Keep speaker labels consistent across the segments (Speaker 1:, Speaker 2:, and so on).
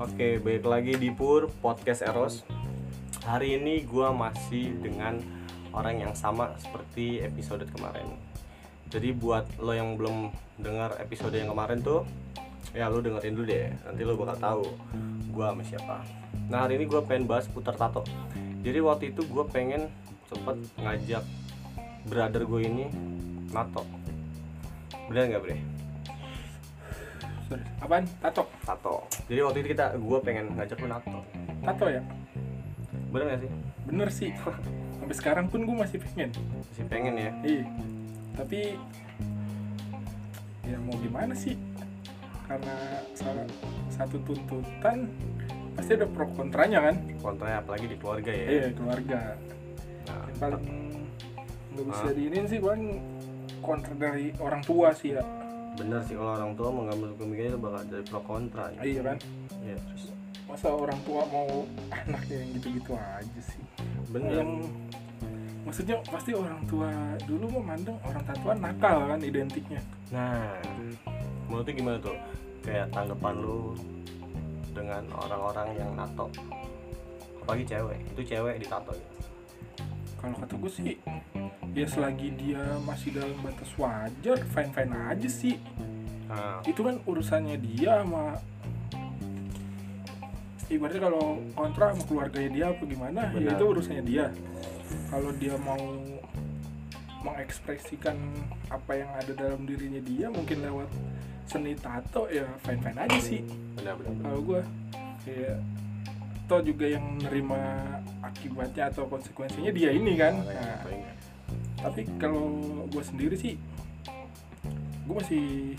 Speaker 1: Oke, baik lagi di Pur Podcast Eros. Hari ini gua masih dengan orang yang sama seperti episode kemarin. Jadi buat lo yang belum dengar episode yang kemarin tuh, ya lo dengerin dulu deh. Nanti lo bakal tahu gua sama siapa. Nah, hari ini gua pengen bahas putar tato. Jadi waktu itu gua pengen sempet ngajak brother gue ini nato. Bener nggak, Bre?
Speaker 2: Sorry. Apaan? Tato.
Speaker 1: Tato. Jadi waktu itu kita gua pengen ngajak lo nato.
Speaker 2: Tato ya?
Speaker 1: Bener gak sih?
Speaker 2: Bener sih. Sampai sekarang pun gue masih pengen.
Speaker 1: Masih pengen ya.
Speaker 2: Iya. Tapi ya mau gimana sih? Karena salah satu tuntutan pasti ada pro kontranya kan?
Speaker 1: Kontranya apalagi di keluarga ya.
Speaker 2: Iya, keluarga.
Speaker 1: Nah,
Speaker 2: Yang paling nggak bisa diinin sih paling kontra dari orang tua sih ya.
Speaker 1: bener sih kalau orang tua mengambil pemikirannya itu bakal dari pro kontra. ya.
Speaker 2: Iya kan?
Speaker 1: Iya, terus
Speaker 2: Masa orang tua mau anaknya yang gitu-gitu aja sih.
Speaker 1: bener.
Speaker 2: yang maksudnya pasti orang tua dulu memandang orang tatuan nakal kan identiknya
Speaker 1: Nah, menurut lu gimana tuh? Kayak tanggapan lu dengan orang-orang yang nato apalagi cewek itu cewek ditato gitu
Speaker 2: kalau kata gue sih ya selagi dia masih dalam batas wajar fine fine aja sih
Speaker 1: nah,
Speaker 2: itu kan urusannya dia sama ibaratnya kalau kontra sama keluarganya dia apa gimana ya
Speaker 1: Benar.
Speaker 2: itu urusannya dia kalau dia mau mengekspresikan apa yang ada dalam dirinya dia mungkin lewat seni tato ya fine fine aja sih
Speaker 1: benar-benar
Speaker 2: kalau gue kayak toh juga yang menerima akibatnya atau konsekuensinya dia ini kan
Speaker 1: Iya,
Speaker 2: nah, tapi kalau gue sendiri sih gue masih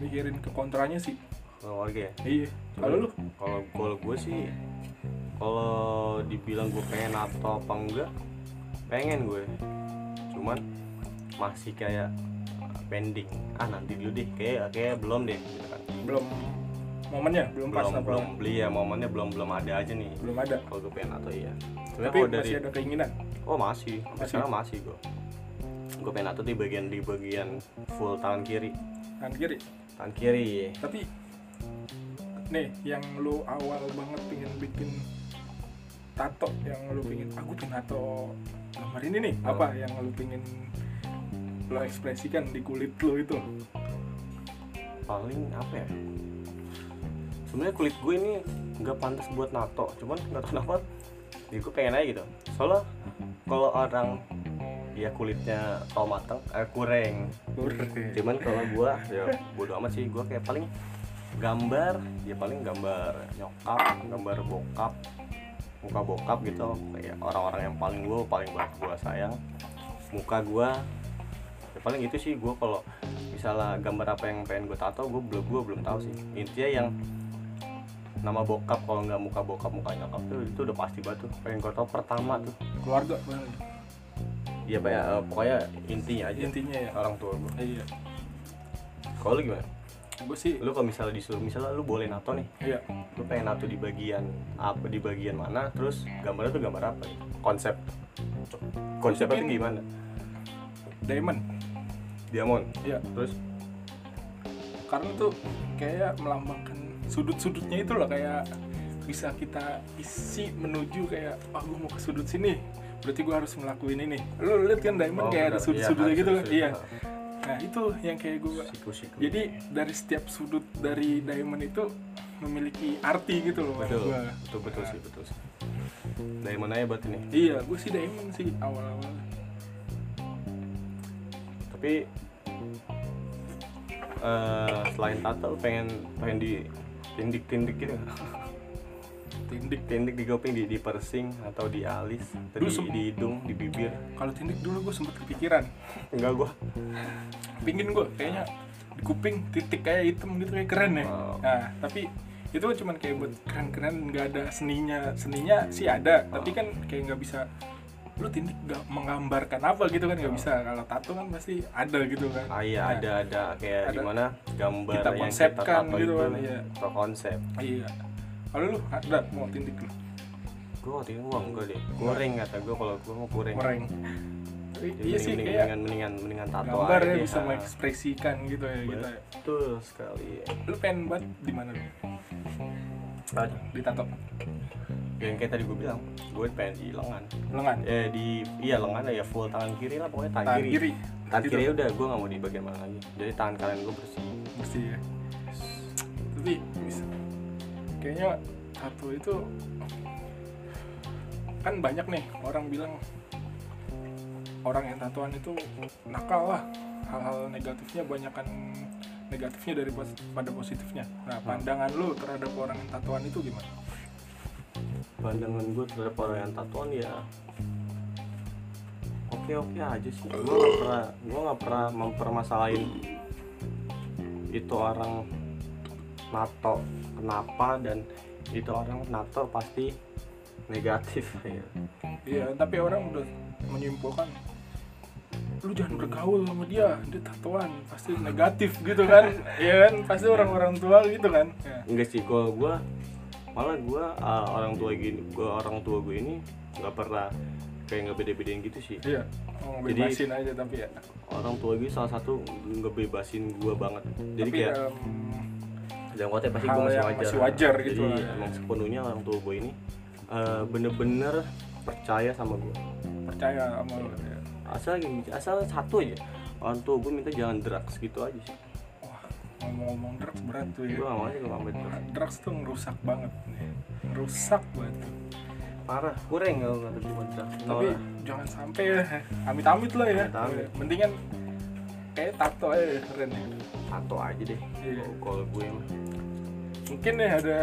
Speaker 2: mikirin ke kontranya sih
Speaker 1: keluarga ya
Speaker 2: iya kalau lu
Speaker 1: kalau kalau gue sih kalau dibilang gue pengen atau apa enggak pengen gue cuman masih kayak uh, pending ah nanti dulu deh kayak kayak belum deh gitu kan
Speaker 2: belum momennya belum, pas
Speaker 1: belum
Speaker 2: apa
Speaker 1: belum beli ya momennya belum belum ada aja nih
Speaker 2: belum ada
Speaker 1: kalau gue pengen atau iya Sebenarnya
Speaker 2: tapi
Speaker 1: kalau dari
Speaker 2: masih ada keinginan
Speaker 1: oh masih sampai
Speaker 2: Masih.
Speaker 1: sekarang masih gue gue pengen atau di bagian di bagian full tangan kiri
Speaker 2: kan kiri
Speaker 1: tangan kiri iya.
Speaker 2: tapi nih yang lu awal banget pengen bikin tato yang lu pengen aku pengen tato gambar ini nih
Speaker 1: Oh.
Speaker 2: apa yang lu pengen lo ekspresikan di kulit lu itu
Speaker 1: paling apa ya sebenarnya kulit gue ini nggak pantas buat nato cuman nggak tahu kenapa jadi gue pengen aja gitu soalnya kalau orang ya kulitnya tau mateng eh, kurang cuman kalau gue ya bodo amat sih gue kayak paling gambar ya paling gambar nyokap gambar bokap muka bokap gitu kayak orang-orang yang paling gue paling banget gue sayang muka gue ya paling itu sih gue kalau misalnya gambar apa yang pengen gue tato gue belum gue belum tahu sih intinya yang nama bokap kalau nggak muka bokap muka nyokap tuh itu udah pasti banget tuh pengen gue tahu pertama tuh
Speaker 2: keluarga bener.
Speaker 1: ya kayak eh, pokoknya intinya aja
Speaker 2: intinya ya
Speaker 1: orang tua gue
Speaker 2: iya
Speaker 1: kalau lu gimana
Speaker 2: gue sih
Speaker 1: lu kalau misalnya disuruh misalnya lu boleh nato nih
Speaker 2: iya
Speaker 1: lu pengen nato di bagian apa di bagian mana terus gambarnya tuh gambar apa ya? konsep konsepnya tuh
Speaker 2: Mungkin-
Speaker 1: gimana
Speaker 2: diamond
Speaker 1: diamond
Speaker 2: iya
Speaker 1: terus
Speaker 2: karena tuh kayak melambangkan sudut-sudutnya itu loh kayak bisa kita isi menuju kayak ah gue mau ke sudut sini berarti gue harus ngelakuin ini lu lihat kan
Speaker 1: Oh,
Speaker 2: diamond kayak ada
Speaker 1: benar. Iya,
Speaker 2: sudut-sudutnya
Speaker 1: ada
Speaker 2: gitu kan
Speaker 1: sudut-sudut.
Speaker 2: iya nah itu yang kayak gue
Speaker 1: siku-siku
Speaker 2: jadi dari setiap sudut dari diamond itu memiliki arti gitu loh
Speaker 1: betul
Speaker 2: gua.
Speaker 1: betul betul sih betul sih diamond aja buat ini
Speaker 2: iya gue sih diamond sih awal-awal
Speaker 1: tapi eh, selain tato lu pengen pengen di tindik tindik gitu
Speaker 2: tindik
Speaker 1: tindik di kuping di, di piercing atau di alis atau
Speaker 2: Dulu
Speaker 1: di,
Speaker 2: sem-
Speaker 1: di hidung di bibir
Speaker 2: kalau tindik dulu gue sempet kepikiran
Speaker 1: enggak gua
Speaker 2: pingin gue kayaknya di kuping titik kayak hitam gitu kayak keren ya
Speaker 1: Wow.
Speaker 2: nah tapi itu cuman kayak buat keren-keren nggak ada seninya seninya sih ada tapi kan kayak nggak bisa lu tindik nggak menggambarkan apa gitu kan nggak bisa kalau tato kan pasti ada gitu kan
Speaker 1: ah iya
Speaker 2: Nah,
Speaker 1: ada ada kayak
Speaker 2: ada.
Speaker 1: gimana gambar
Speaker 2: Kita
Speaker 1: yang
Speaker 2: konsepkan
Speaker 1: tato
Speaker 2: gitu
Speaker 1: itu,
Speaker 2: kan, iya.
Speaker 1: atau konsep
Speaker 2: iya kalau lu ada mau tindik lu
Speaker 1: gue waktu itu gua enggak
Speaker 2: Iya.
Speaker 1: deh kuring kata gue kalau gue mau kuring
Speaker 2: mereng
Speaker 1: Jadi
Speaker 2: iya sih
Speaker 1: mending-
Speaker 2: kayak
Speaker 1: mendingan mendingan mendingan tato
Speaker 2: gambar
Speaker 1: aja
Speaker 2: ya
Speaker 1: deh,
Speaker 2: bisa
Speaker 1: ah.
Speaker 2: mengekspresikan gitu ya gitu ya.
Speaker 1: betul sekali
Speaker 2: lu pengen buat di mana lu? Banyak ditato
Speaker 1: Nah, yang kayak tadi gue bilang gue pengen di lengan
Speaker 2: lengan
Speaker 1: eh di iya lengan ya full tangan kiri lah pokoknya tangan,
Speaker 2: tangan
Speaker 1: kiri.
Speaker 2: kiri
Speaker 1: tangan
Speaker 2: Gitu.
Speaker 1: kiri udah gue nggak mau di bagian mana lagi jadi tangan kalian gue bersih
Speaker 2: mesti ya tapi bisa. kayaknya tato itu kan banyak nih orang bilang orang yang tatoan itu nakal lah hal-hal negatifnya banyakkan negatifnya daripada positifnya nah pandangan lu terhadap orang yang tatoan itu gimana
Speaker 1: pandangan gue terhadap orang yang tatoan ya oke oke aja sih gue nggak pernah gue nggak pernah mempermasalahin itu orang nato kenapa dan itu orang nato pasti negatif ya.
Speaker 2: Iya, tapi orang udah menyimpulkan lu jangan bergaul sama dia, dia tatoan pasti negatif gitu kan, Iya kan pasti orang-orang tua gitu kan. Ya.
Speaker 1: enggak sih kalau gue malah gue uh, orang tua gini gue orang tua gue ini nggak pernah kayak nggak beda-bedain gitu sih
Speaker 2: Iya, mau
Speaker 1: Jadi-
Speaker 2: bebasin aja tapi ya.
Speaker 1: orang tua gue salah satu ngebebasin gue banget jadi
Speaker 2: tapi ya,
Speaker 1: kayak
Speaker 2: em,
Speaker 1: dalam kota pasti
Speaker 2: Hal
Speaker 1: gue masih
Speaker 2: yang
Speaker 1: wajar,
Speaker 2: masih wajar gitu
Speaker 1: jadi
Speaker 2: lah.
Speaker 1: emang sepenuhnya orang tua gue ini eh, bener-bener percaya sama gue
Speaker 2: percaya sama lu. ya.
Speaker 1: asal gini, asal satu aja orang tua gue minta jangan drugs gitu aja sih
Speaker 2: Wah, ngomong-ngomong drugs berat tuh
Speaker 1: gue
Speaker 2: ya.
Speaker 1: gak mau aja kalau ambil drugs
Speaker 2: Drugs tuh ngerusak banget nih.
Speaker 1: Iya.
Speaker 2: Ngerusak banget.
Speaker 1: parah kurang kalau nggak terima drugs
Speaker 2: Tapi jangan sampai ya. Amit-amit lah ya.
Speaker 1: Amit-amit.
Speaker 2: Mendingan kayak tato aja keren ya.
Speaker 1: satu aja deh
Speaker 2: Iya.
Speaker 1: Kalau- kalau gue mah
Speaker 2: mungkin nih ada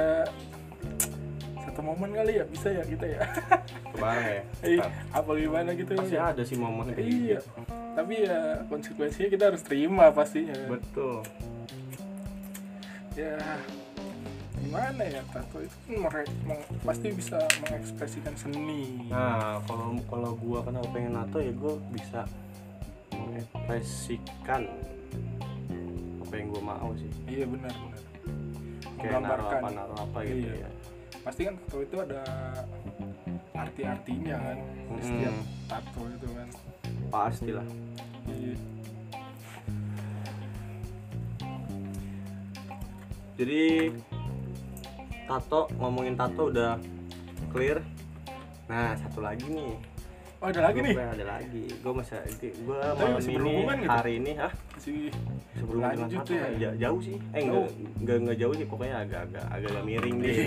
Speaker 2: satu momen kali ya bisa ya kita ya
Speaker 1: kebarang ya
Speaker 2: Eh, apa gimana gitu
Speaker 1: pasti
Speaker 2: ya
Speaker 1: ada sih momen kayak gitu.
Speaker 2: iya tapi ya konsekuensinya kita harus terima pastinya
Speaker 1: gitu. betul
Speaker 2: ya gimana ya tato itu kan mere- meng- pasti bisa mengekspresikan seni
Speaker 1: nah kalau kalau gue kenapa pengen nato ya gue bisa mengekspresikan apa yang gue mau sih
Speaker 2: iya benar benar
Speaker 1: kayak naruh apa
Speaker 2: menggambarkan
Speaker 1: naruh apa gitu
Speaker 2: Iya.
Speaker 1: ya
Speaker 2: pasti kan tato itu ada arti-artinya kan di
Speaker 1: Hmm.
Speaker 2: setiap tato itu kan
Speaker 1: pastilah
Speaker 2: Iya.
Speaker 1: jadi tato ngomongin tato udah clear nah satu lagi nih
Speaker 2: oh ada lagi nih
Speaker 1: Gua ada lagi gue masih gue
Speaker 2: Tapi
Speaker 1: malam
Speaker 2: masih
Speaker 1: ini
Speaker 2: berhubungan gitu?
Speaker 1: hari ini ah
Speaker 2: si
Speaker 1: sebelum dengan
Speaker 2: Lanjut
Speaker 1: tato
Speaker 2: ya.
Speaker 1: kan ja- jauh sih eh enggak
Speaker 2: Jauh. Iya.
Speaker 1: enggak enggak jauh sih pokoknya agak-agak agak miring deh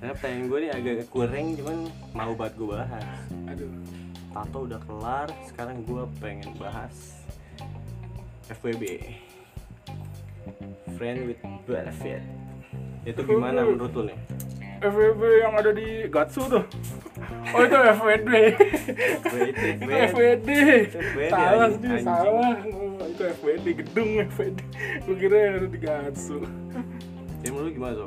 Speaker 1: karena pengen gue nih agak kurang cuman mau buat gue bahas
Speaker 2: aduh
Speaker 1: tato udah kelar sekarang gue pengen bahas FWB friend with benefit itu gimana menurut lu nih
Speaker 2: FWB yang ada di Gatsu tuh. Oh itu FWD.
Speaker 1: FWB
Speaker 2: itu FWD.
Speaker 1: FWD,
Speaker 2: Salah
Speaker 1: anjing. Anjing.
Speaker 2: sih, salah. Oh, Itu FWD gedung FWD. Gue kira yang ada di Gatsu.
Speaker 1: jadi menurut lu gimana so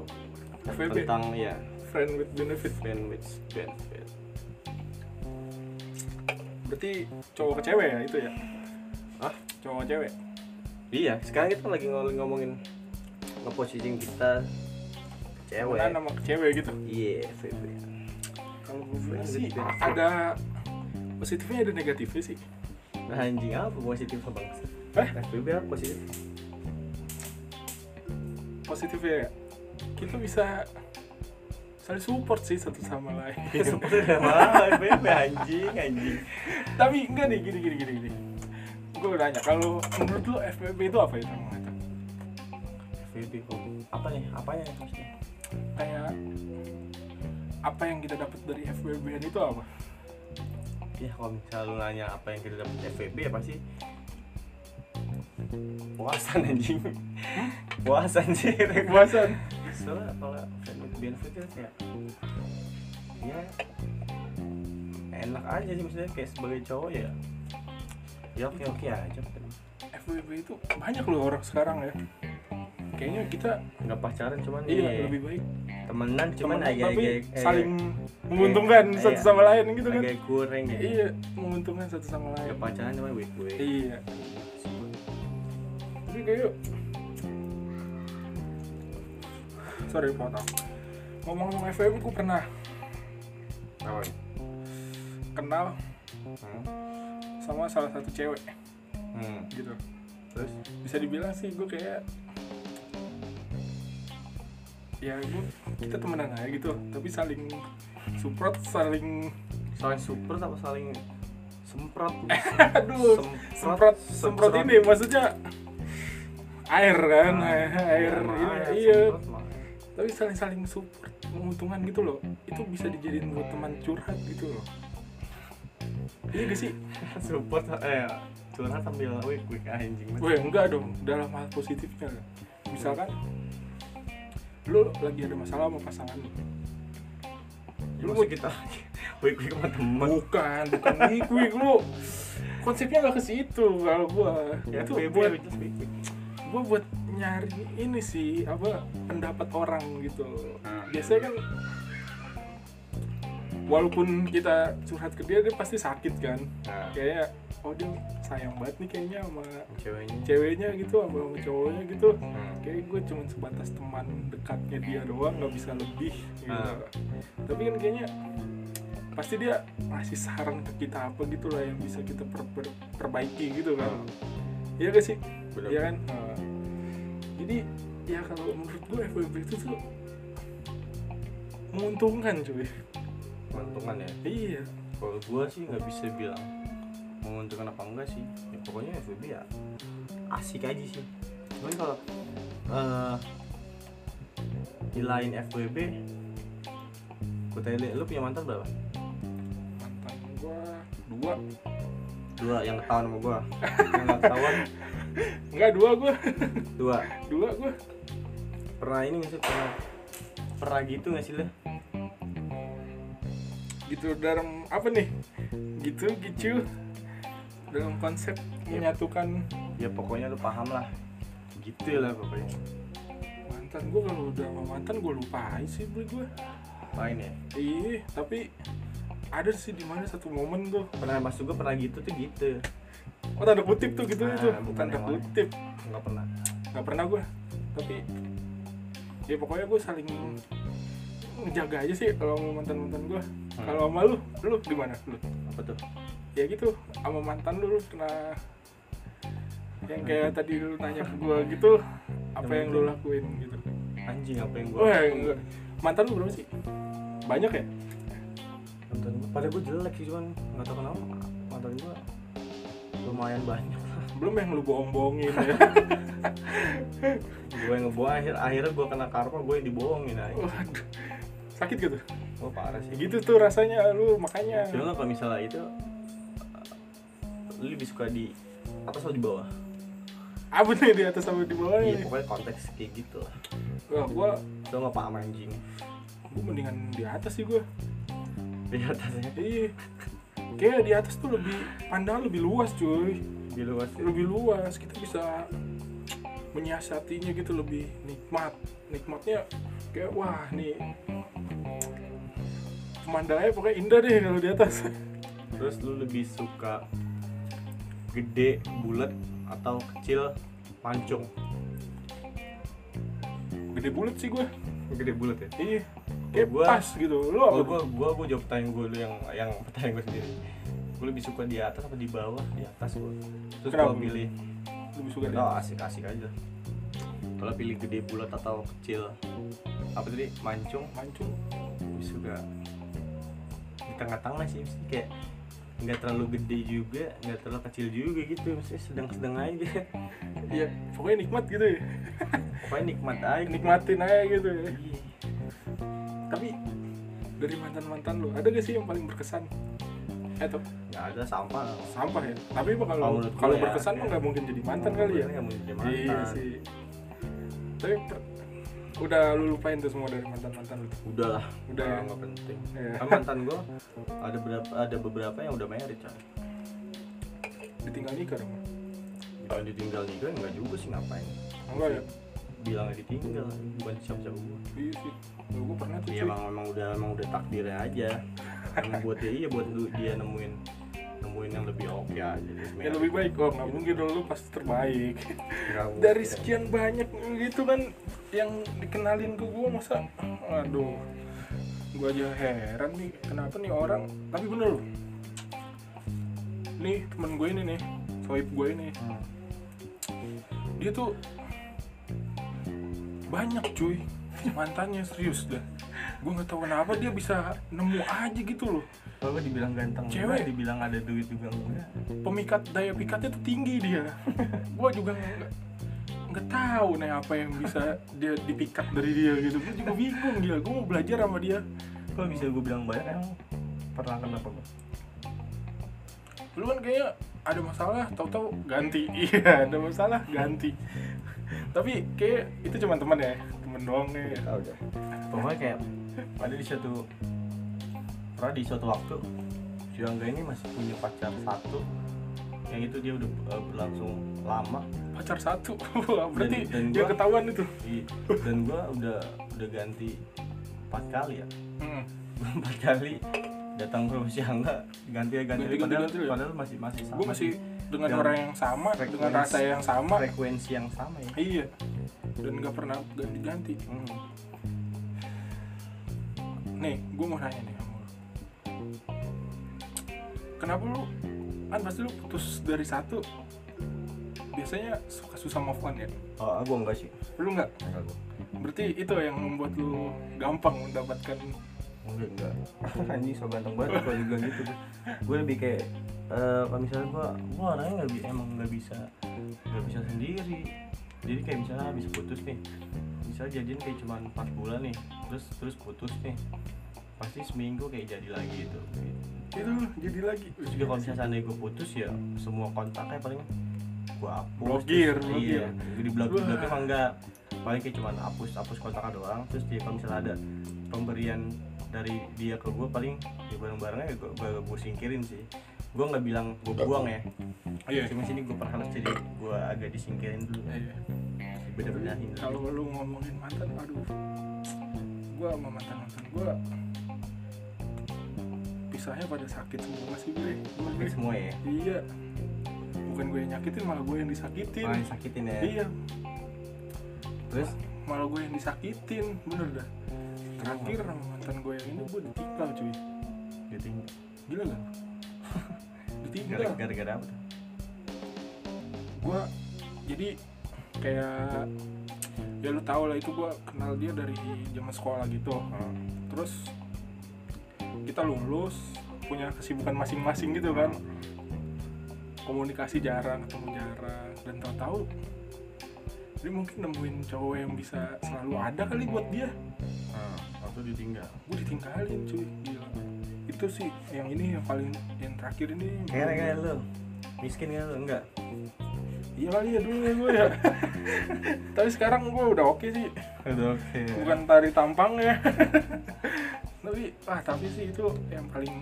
Speaker 2: FWB
Speaker 1: tentang ya
Speaker 2: friend with benefit.
Speaker 1: friend with benefit
Speaker 2: Berarti cowok ke cewek ya itu ya?
Speaker 1: ah
Speaker 2: Cowok ke cewek.
Speaker 1: iya sekarang kita lagi ngomongin ngomongin ngeposisiin kita ke cewek
Speaker 2: Kan nama ke cewek gitu.
Speaker 1: iya FWB
Speaker 2: Kalau gue bilang
Speaker 1: Friend
Speaker 2: sih
Speaker 1: with benefit.
Speaker 2: ada positifnya ada negatifnya sih.
Speaker 1: Nah, anjing apa positif apa bang?
Speaker 2: Eh?
Speaker 1: FWB apa positif?
Speaker 2: Positifnya ya, kita bisa saling support sih satu sama lain.
Speaker 1: Sebenernya malah FWB anjing anjing.
Speaker 2: tapi enggak nih gini gini gini gini gue nanya kalau menurut lo FPP itu apa ya, itu
Speaker 1: FWB kok apa nih? Apanya yang maksudnya?
Speaker 2: kayak apa yang kita dapat dari FWBN itu apa
Speaker 1: Ya kalau misalnya lu nanya apa yang kita dapat FWB ya pasti puasan anjing. puasan sih.
Speaker 2: kepuasan
Speaker 1: Soalnya kalau benefit benefit itu kayak ya enak aja sih maksudnya kayak sebagai cowok ya ya oke oke aja
Speaker 2: FWB itu banyak loh orang sekarang ya kayaknya kita
Speaker 1: nggak pacaran cuman ya,
Speaker 2: iya lebih baik
Speaker 1: temenan cuman
Speaker 2: teman
Speaker 1: agak
Speaker 2: tapi
Speaker 1: agak
Speaker 2: saling menguntungkan
Speaker 1: eh,
Speaker 2: satu
Speaker 1: iya.
Speaker 2: sama lain gitu kan
Speaker 1: agak kurang ya
Speaker 2: iya menguntungkan satu sama lain
Speaker 1: nggak pacaran cuman baik baik
Speaker 2: iya tapi kayak sorry potong ngomong-ngomong FWB gue pernah
Speaker 1: apa
Speaker 2: kenal
Speaker 1: hmm.
Speaker 2: sama salah satu cewek
Speaker 1: hmm.
Speaker 2: gitu
Speaker 1: terus
Speaker 2: bisa dibilang sih gue kayak ya gua- kita temenan aja gitu tapi saling support saling
Speaker 1: saling support apa saling semprot
Speaker 2: aduh semprot semprot ini maksudnya air kan
Speaker 1: Nah,
Speaker 2: air ini iya tapi saling saling support menguntungkan gitu loh itu bisa dijadiin buat teman curhat gitu loh iya gak sih
Speaker 1: support eh curhat sambil wik wik anjing
Speaker 2: Weh enggak dong dalam hal positifnya lah. misalkan lu lagi ada masalah sama pasangan lu.
Speaker 1: lu mau kita wik wik sama temen
Speaker 2: bukan bukan wig lu konsepnya gak ke situ kalau gua
Speaker 1: ya
Speaker 2: itu
Speaker 1: tuh
Speaker 2: buat
Speaker 1: wik wik wik
Speaker 2: gue buat nyari ini sih apa pendapat orang gitu
Speaker 1: Ah.
Speaker 2: biasanya kan walaupun kita curhat ke dia dia pasti sakit kan
Speaker 1: nah
Speaker 2: kayak oh dia sayang banget nih kayaknya sama
Speaker 1: ceweknya
Speaker 2: ceweknya gitu sama, sama cowoknya gitu
Speaker 1: Hmm.
Speaker 2: kayak gue cuma sebatas teman dekatnya dia doang nggak bisa lebih gitu
Speaker 1: Ah.
Speaker 2: tapi kan kayaknya pasti dia ngasih saran ke kita apa gitu lah yang bisa kita per- per- perbaiki gitu kan
Speaker 1: Ah.
Speaker 2: Iya gak sih?
Speaker 1: Bener.
Speaker 2: Iya kan? Nah, jadi ya kalau menurut gue FWB itu tuh menguntungkan cuy.
Speaker 1: mantungan ya
Speaker 2: Iya.
Speaker 1: kalau gua sih nggak bisa bilang menguntungkan apa enggak sih ya, pokoknya FWB ya asik aja sih cuman kalau eh di lain FWB kutele lu punya mantan berapa
Speaker 2: Mantan gue dua,
Speaker 1: dua yang ketahuan sama gua yang nggak ketahuan
Speaker 2: enggak dua gue,
Speaker 1: dua
Speaker 2: dua gue.
Speaker 1: pernah ini nggak sih pernah pernah gitu nggak sih lu
Speaker 2: Gitu dalam apa nih? Gitu gitu dalam konsep menyatukan
Speaker 1: ya pokoknya lu paham lah gitu lah pokoknya
Speaker 2: mantan gue kalau udah sama mantan gue lupain sih gue.
Speaker 1: main ya
Speaker 2: Iya, tapi ada sih di mana satu momen tuh.
Speaker 1: pernah masuk gua pernah gitu tuh gitu
Speaker 2: Oh tanda kutip tuh gitu
Speaker 1: Ah,
Speaker 2: itu,
Speaker 1: bukan
Speaker 2: tanda
Speaker 1: yang lain.
Speaker 2: kutip.
Speaker 1: nggak pernah
Speaker 2: nggak pernah gue tapi ya pokoknya gue saling ngejaga aja sih kalau sama mantan mantan gue
Speaker 1: Hmm.
Speaker 2: kalau sama lu lu gimana lu
Speaker 1: apa tuh
Speaker 2: ya gitu sama mantan lu, lu pernah yang kayak tadi lu nanya ke gue gitu apa yang lu lakuin gitu
Speaker 1: anjing apa yang gua
Speaker 2: wah enggak. mantan lu berapa sih banyak ya
Speaker 1: mantan gue padahal gue jelek sih cuman nggak tahu kenapa mantan gue lumayan banyak
Speaker 2: belum yang lu bohong-bohongin ya
Speaker 1: gue yang ngebohong akhir akhirnya gue kena karma gue yang dibohongin aja
Speaker 2: waduh sakit gitu
Speaker 1: gue parah
Speaker 2: ya
Speaker 1: sih
Speaker 2: gitu tuh rasanya lu makanya
Speaker 1: cuma kalau misalnya itu lu lebih suka di atas atau di bawah
Speaker 2: apa nih di atas sama di bawah
Speaker 1: iya
Speaker 2: nih
Speaker 1: pokoknya konteks kayak gitu lah
Speaker 2: wah gue
Speaker 1: lo nggak paham anjing
Speaker 2: gue mendingan di atas sih gue
Speaker 1: di atasnya
Speaker 2: Iya. Kayak di atas tuh lebih pandangan lebih luas cuy,
Speaker 1: di luas ya.
Speaker 2: lebih luas kita bisa menyiasatinya gitu lebih nikmat, nikmatnya kayak wah nih pemandangannya pokoknya indah deh kalau di atas.
Speaker 1: terus lu lebih suka gede bulat atau kecil pancung
Speaker 2: Gede bulat sih gue,
Speaker 1: gede bulat ya
Speaker 2: iya. Kayak
Speaker 1: Gua-
Speaker 2: pas gitu, lu apa?
Speaker 1: Kalau gua gua gua jawab pertanyaan gua dulu yang yang pertanyaan gua sendiri. Gua lebih suka di atas apa di bawah? Di atas gua. Terus
Speaker 2: Kenapa?
Speaker 1: gua pilih
Speaker 2: lebih suka di
Speaker 1: oh, asik-asik aja. Kalau pilih gede bulat atau kecil apa tadi mancung
Speaker 2: mancung.
Speaker 1: lebih suka di tengah-tengah sih mesti kayak nggak terlalu gede juga nggak terlalu kecil juga gitu mesti sedang-sedang aja
Speaker 2: Iya, pokoknya nikmat gitu ya.
Speaker 1: pokoknya nikmat aja
Speaker 2: Nikmatin aja gitu ya.
Speaker 1: Iya.
Speaker 2: Tapi dari mantan-mantan lu, ada gak sih yang paling berkesan? Eh, tapi
Speaker 1: nggak ada sampah
Speaker 2: sampah ya tapi emang kalau
Speaker 1: Oh, menurut
Speaker 2: kalau
Speaker 1: gue ya.
Speaker 2: berkesan mah nggak mungkin jadi mantan kali ya
Speaker 1: nggak mau jadi
Speaker 2: iya
Speaker 1: mantan
Speaker 2: sih tapi per- udah lu lupain tuh semua dari mantan mantan lu tuh.
Speaker 1: udahlah Ah,
Speaker 2: Udah ya?
Speaker 1: nggak penting
Speaker 2: Iya.
Speaker 1: Kan mantan gue ada beberapa ada beberapa yang udah married coy.
Speaker 2: ditinggal nikah dong
Speaker 1: Kalau ditinggal nikah enggak juga sih ngapain.
Speaker 2: enggak ya
Speaker 1: Bilangnya ditinggal bukan siapa-siapa gue.
Speaker 2: iya sih Lu gue pernah tuh
Speaker 1: Iya
Speaker 2: cuy.
Speaker 1: emang emang udah emang udah takdirnya aja. Emang buat dia iya buat lu dia nemuin nemuin yang lebih oke aja. Terus
Speaker 2: ya
Speaker 1: married.
Speaker 2: lebih baik kok nggak mungkin dong lu pasti terbaik
Speaker 1: Nggak mungkin.
Speaker 2: dari sekian banyak gitu kan yang dikenalin ke gue masa aduh gue aja heran nih kenapa nih orang tapi bener loh nih temen gue ini nih soib gue ini
Speaker 1: Hmm.
Speaker 2: dia tuh banyak cuy mantannya serius dah gue nggak tahu kenapa dia bisa nemu aja gitu loh
Speaker 1: Kalau gue dibilang ganteng
Speaker 2: Cewek.
Speaker 1: enggak, dibilang ada duit dibilang enggak.
Speaker 2: pemikat daya pikatnya tuh tinggi dia gue juga nggak nggak tahu nih apa yang bisa dia dipikat dari dia gitu gue juga bingung gila gue mau belajar sama dia
Speaker 1: Kok bisa gue bilang banyak emang pernah kenapa gue?
Speaker 2: lu kan kayaknya ada masalah tahu-tahu ganti iya ada masalah ganti tapi kayak itu cuma teman ya temen doang ya
Speaker 1: Tahu deh. Pokoknya kayak ada di suatu pernah di suatu waktu si Angga ini masih punya pacar satu yang itu dia udah eh, berlangsung lama
Speaker 2: pacar satu Wah, berarti
Speaker 1: Dan- dan
Speaker 2: dia
Speaker 1: gua-
Speaker 2: ketahuan itu
Speaker 1: Di- dan gua udah udah ganti empat kali ya
Speaker 2: hmm.
Speaker 1: Gua empat kali datang ke rumah si Angga ganti ganti,
Speaker 2: Ganti-ganti,
Speaker 1: padahal,
Speaker 2: ganti, ya?
Speaker 1: padahal masih masih sama
Speaker 2: gue masih dengan
Speaker 1: Dan
Speaker 2: orang yang sama dengan
Speaker 1: frekuensi-
Speaker 2: rasa yang sama
Speaker 1: frekuensi yang sama ya
Speaker 2: iya dan nggak pernah ganti-ganti
Speaker 1: Hmm.
Speaker 2: nih gue mau nanya nih sama lu. kenapa lu kan pasti lu putus dari satu biasanya suka susah move on ya
Speaker 1: Oh, gua enggak sih.
Speaker 2: lu nggak
Speaker 1: Enggak, gua.
Speaker 2: berarti itu yang membuat lu gampang mendapatkan
Speaker 1: Enggak, enggak. Anjing so ganteng banget gua juga gitu. Gue lebih kayak eh kalau misalnya gua gua orangnya enggak bi- emang enggak bisa enggak bisa sendiri. Jadi kayak misalnya habis putus nih. Misalnya jadian kayak cuma 4 bulan nih. Terus terus putus nih. Pasti seminggu kayak jadi lagi gitu.
Speaker 2: itu lu jadi lagi
Speaker 1: Terus juga kalau misalnya seandainya gue putus ya semua kontaknya paling gue hapus.
Speaker 2: Blokir,
Speaker 1: terus-
Speaker 2: blokir.
Speaker 1: Iya, gue di blok,
Speaker 2: Wah.
Speaker 1: blok emang enggak. Paling kayak cuma hapus, hapus kontaknya doang. Terus dia kalau misalnya ada pemberian dari dia ke gue paling ya bareng-barengnya ya gue, gue, gue singkirin sih. Gue nggak bilang gue buang ya.
Speaker 2: iya
Speaker 1: Cuma sini gue perhalus jadi gue agak disingkirin dulu.
Speaker 2: iya
Speaker 1: Beda-bedahin. dulu.
Speaker 2: Hmm, kalau lu ngomongin mantan aduh gua sama mantan mantan gua pisahnya pada sakit semua sih bre
Speaker 1: Tapi semua ya.
Speaker 2: iya bukan gue yang nyakitin malah gue yang disakitin
Speaker 1: Malah sakitin ya.
Speaker 2: iya
Speaker 1: Terus
Speaker 2: malah gue yang disakitin bener dah terakhir sama mantan gue yang ini gue ditinggal cuy
Speaker 1: ditinggal.
Speaker 2: gila gak ditinggal Iya.
Speaker 1: Gara- Gara-gara apa? tuh?
Speaker 2: gue jadi kayak ya lu tau lah itu gue kenal dia dari zaman sekolah gitu terus kita lulus punya kesibukan masing-masing gitu kan komunikasi jarang ketemu jarang dan tahu-tahu dia mungkin nemuin cowok yang bisa selalu ada kali buat dia
Speaker 1: Ah, waktu ditinggal.
Speaker 2: gue ditinggalin cuy gila itu sih yang ini yang paling yang terakhir ini
Speaker 1: Kayaknya kayak lu miskin kan lu enggak?
Speaker 2: iya kali ya dulu ya gue ya tapi sekarang gue udah oke sih
Speaker 1: Aduh, oke.
Speaker 2: bukan tari tampang ya tapi ah tapi sih itu yang paling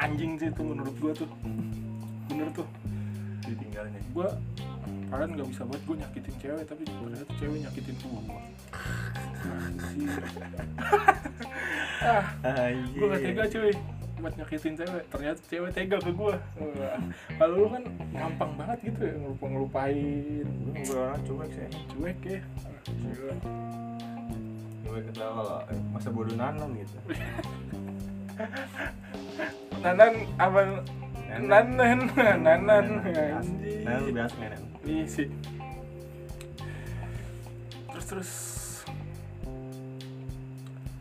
Speaker 2: anjing sih itu menurut gua tuh bener tuh
Speaker 1: ditinggalin ya.
Speaker 2: gua kalian nggak bisa buat gue nyakitin cewek tapi ternyata cewek nyakitin gua Anjing. ah gue gak tega cuy buat nyakitin cewek ternyata cewek tega ke gue kalau lu kan gampang banget gitu ya ngelupa ngelupain
Speaker 1: Gue orang cuek sih.
Speaker 2: cuek ya Ah, gila.
Speaker 1: Gue ketawa kalau eh, masa bodoh nanan gitu.
Speaker 2: nanan apa nanan nanan
Speaker 1: Anjing. Nanan
Speaker 2: anjing
Speaker 1: lebih asik nanan.
Speaker 2: Iya sih terus terus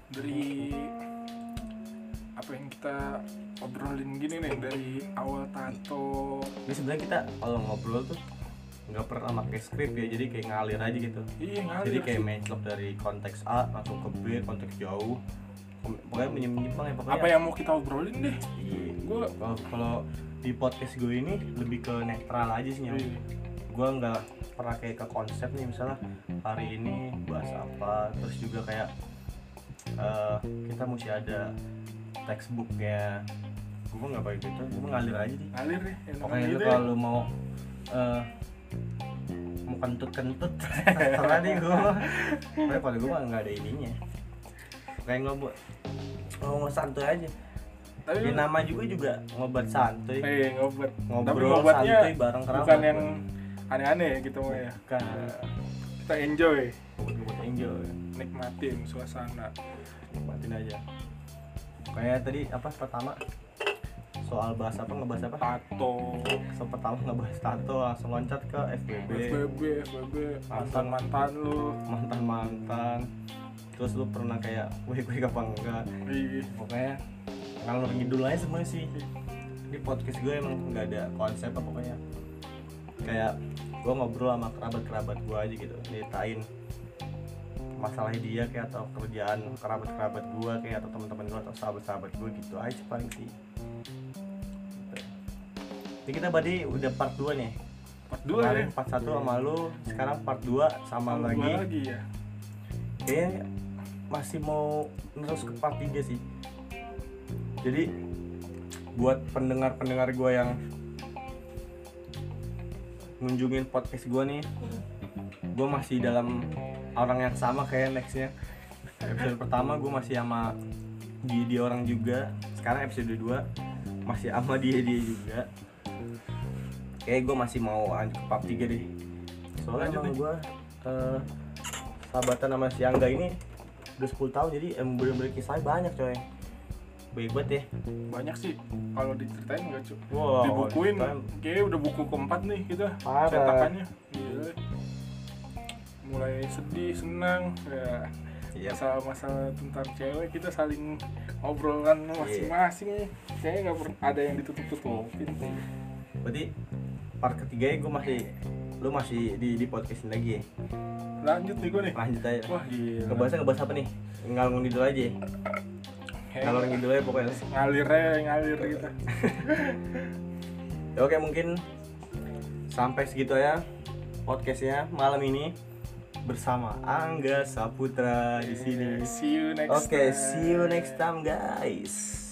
Speaker 2: dari apa yang kita obrolin gini nih dari awal tato
Speaker 1: Ini sebenarnya kita kalau ngobrol tuh nggak pernah pakai skrip ya jadi kayak ngalir aja gitu
Speaker 2: iya ngalir
Speaker 1: jadi kayak
Speaker 2: sih.
Speaker 1: menclok dari konteks A langsung ke B konteks jauh Kom- pokoknya menyimpang ya pokoknya
Speaker 2: apa yang mau kita obrolin deh
Speaker 1: Iya.
Speaker 2: gue
Speaker 1: Kalau- kalau di podcast gue ini lebih ke netral aja sih nyampe gue nggak pernah kayak ke konsep nih misalnya hari ini bahas apa terus juga kayak eh, kita mesti ada textbooknya gue nggak pakai gitu gue ngalir aja sih
Speaker 2: ngalir deh yang
Speaker 1: pokoknya
Speaker 2: gitu
Speaker 1: lu
Speaker 2: ya.
Speaker 1: kalau lu mau eh, mau kentut kentut terserah nih gue pokoknya kalau gue mah nggak ada ininya kayak ngobrol ngomong santuy aja
Speaker 2: tapi
Speaker 1: di nama juga juga ngobat santuy
Speaker 2: eh ngobat tapi
Speaker 1: ngobrol
Speaker 2: ngobatnya
Speaker 1: santuy bareng kerabat
Speaker 2: bukan yang aneh-aneh gitu mah ya
Speaker 1: bukan
Speaker 2: kita enjoy
Speaker 1: ngobat-ngobat enjoy
Speaker 2: nikmatin suasana
Speaker 1: nikmatin aja kayak tadi apa pertama soal bahas apa ngebahas apa
Speaker 2: tato
Speaker 1: sempet tahu ngebahas tato langsung loncat ke FBB
Speaker 2: FBB FBB mantan mantan lu
Speaker 1: mantan mantan terus lu pernah kayak weh gue apa enggak Iya.
Speaker 2: Ih,
Speaker 1: pokoknya kalau ngidul aja semua sih ini podcast gue emang nggak ada konsep apa pokoknya kayak gue ngobrol sama kerabat kerabat gue aja gitu ceritain masalah dia kayak atau kerjaan kerabat kerabat gue kayak atau teman-teman gue atau sahabat sahabat gue gitu aja paling sih Gitu. Jadi kita tadi udah part 2 nih
Speaker 2: part dua ya
Speaker 1: Kemarin part 1 sama lu Sekarang part 2 sama
Speaker 2: Part dua
Speaker 1: lagi
Speaker 2: lagi ya
Speaker 1: kayaknya masih mau terus ke part 3 sih jadi buat pendengar-pendengar gue yang ngunjungin podcast gue nih gue masih dalam orang yang sama kayak nextnya episode pertama gue masih sama dia, dia orang juga sekarang episode 2 masih sama dia dia juga kayak gue masih mau lanjut ke part 3 deh soalnya
Speaker 2: Lanjut
Speaker 1: emang
Speaker 2: nih.
Speaker 1: gue eh, sahabatan sama si Angga ini udah 10 tahun jadi em bener-bener kisahnya banyak coy baik banget ya
Speaker 2: banyak sih kalau diceritain nggak cukup
Speaker 1: wow,
Speaker 2: dibukuin
Speaker 1: kan
Speaker 2: kayaknya udah buku keempat nih kita
Speaker 1: Parah.
Speaker 2: cetakannya Gila. mulai sedih senang ya
Speaker 1: iya
Speaker 2: masalah-masalah tentang cewek kita saling obrolan masing-masing kayaknya nggak pernah ada yang ditutup-tutupin
Speaker 1: berarti part ketiga ya gue masih lu masih di di podcastin lagi ya
Speaker 2: lanjut nih gue nih
Speaker 1: lanjut aja
Speaker 2: wah gila
Speaker 1: ngebahas ngebahas apa nih ngalung ngidul aja ya?
Speaker 2: Kayak
Speaker 1: ngalung ngidul aja pokoknya
Speaker 2: ngalir aja ngalir gitu. kita
Speaker 1: Ya, oke mungkin sampai segitu ya podcastnya malam ini bersama Angga Saputra di sini
Speaker 2: see you next
Speaker 1: oke see you
Speaker 2: time.
Speaker 1: next time guys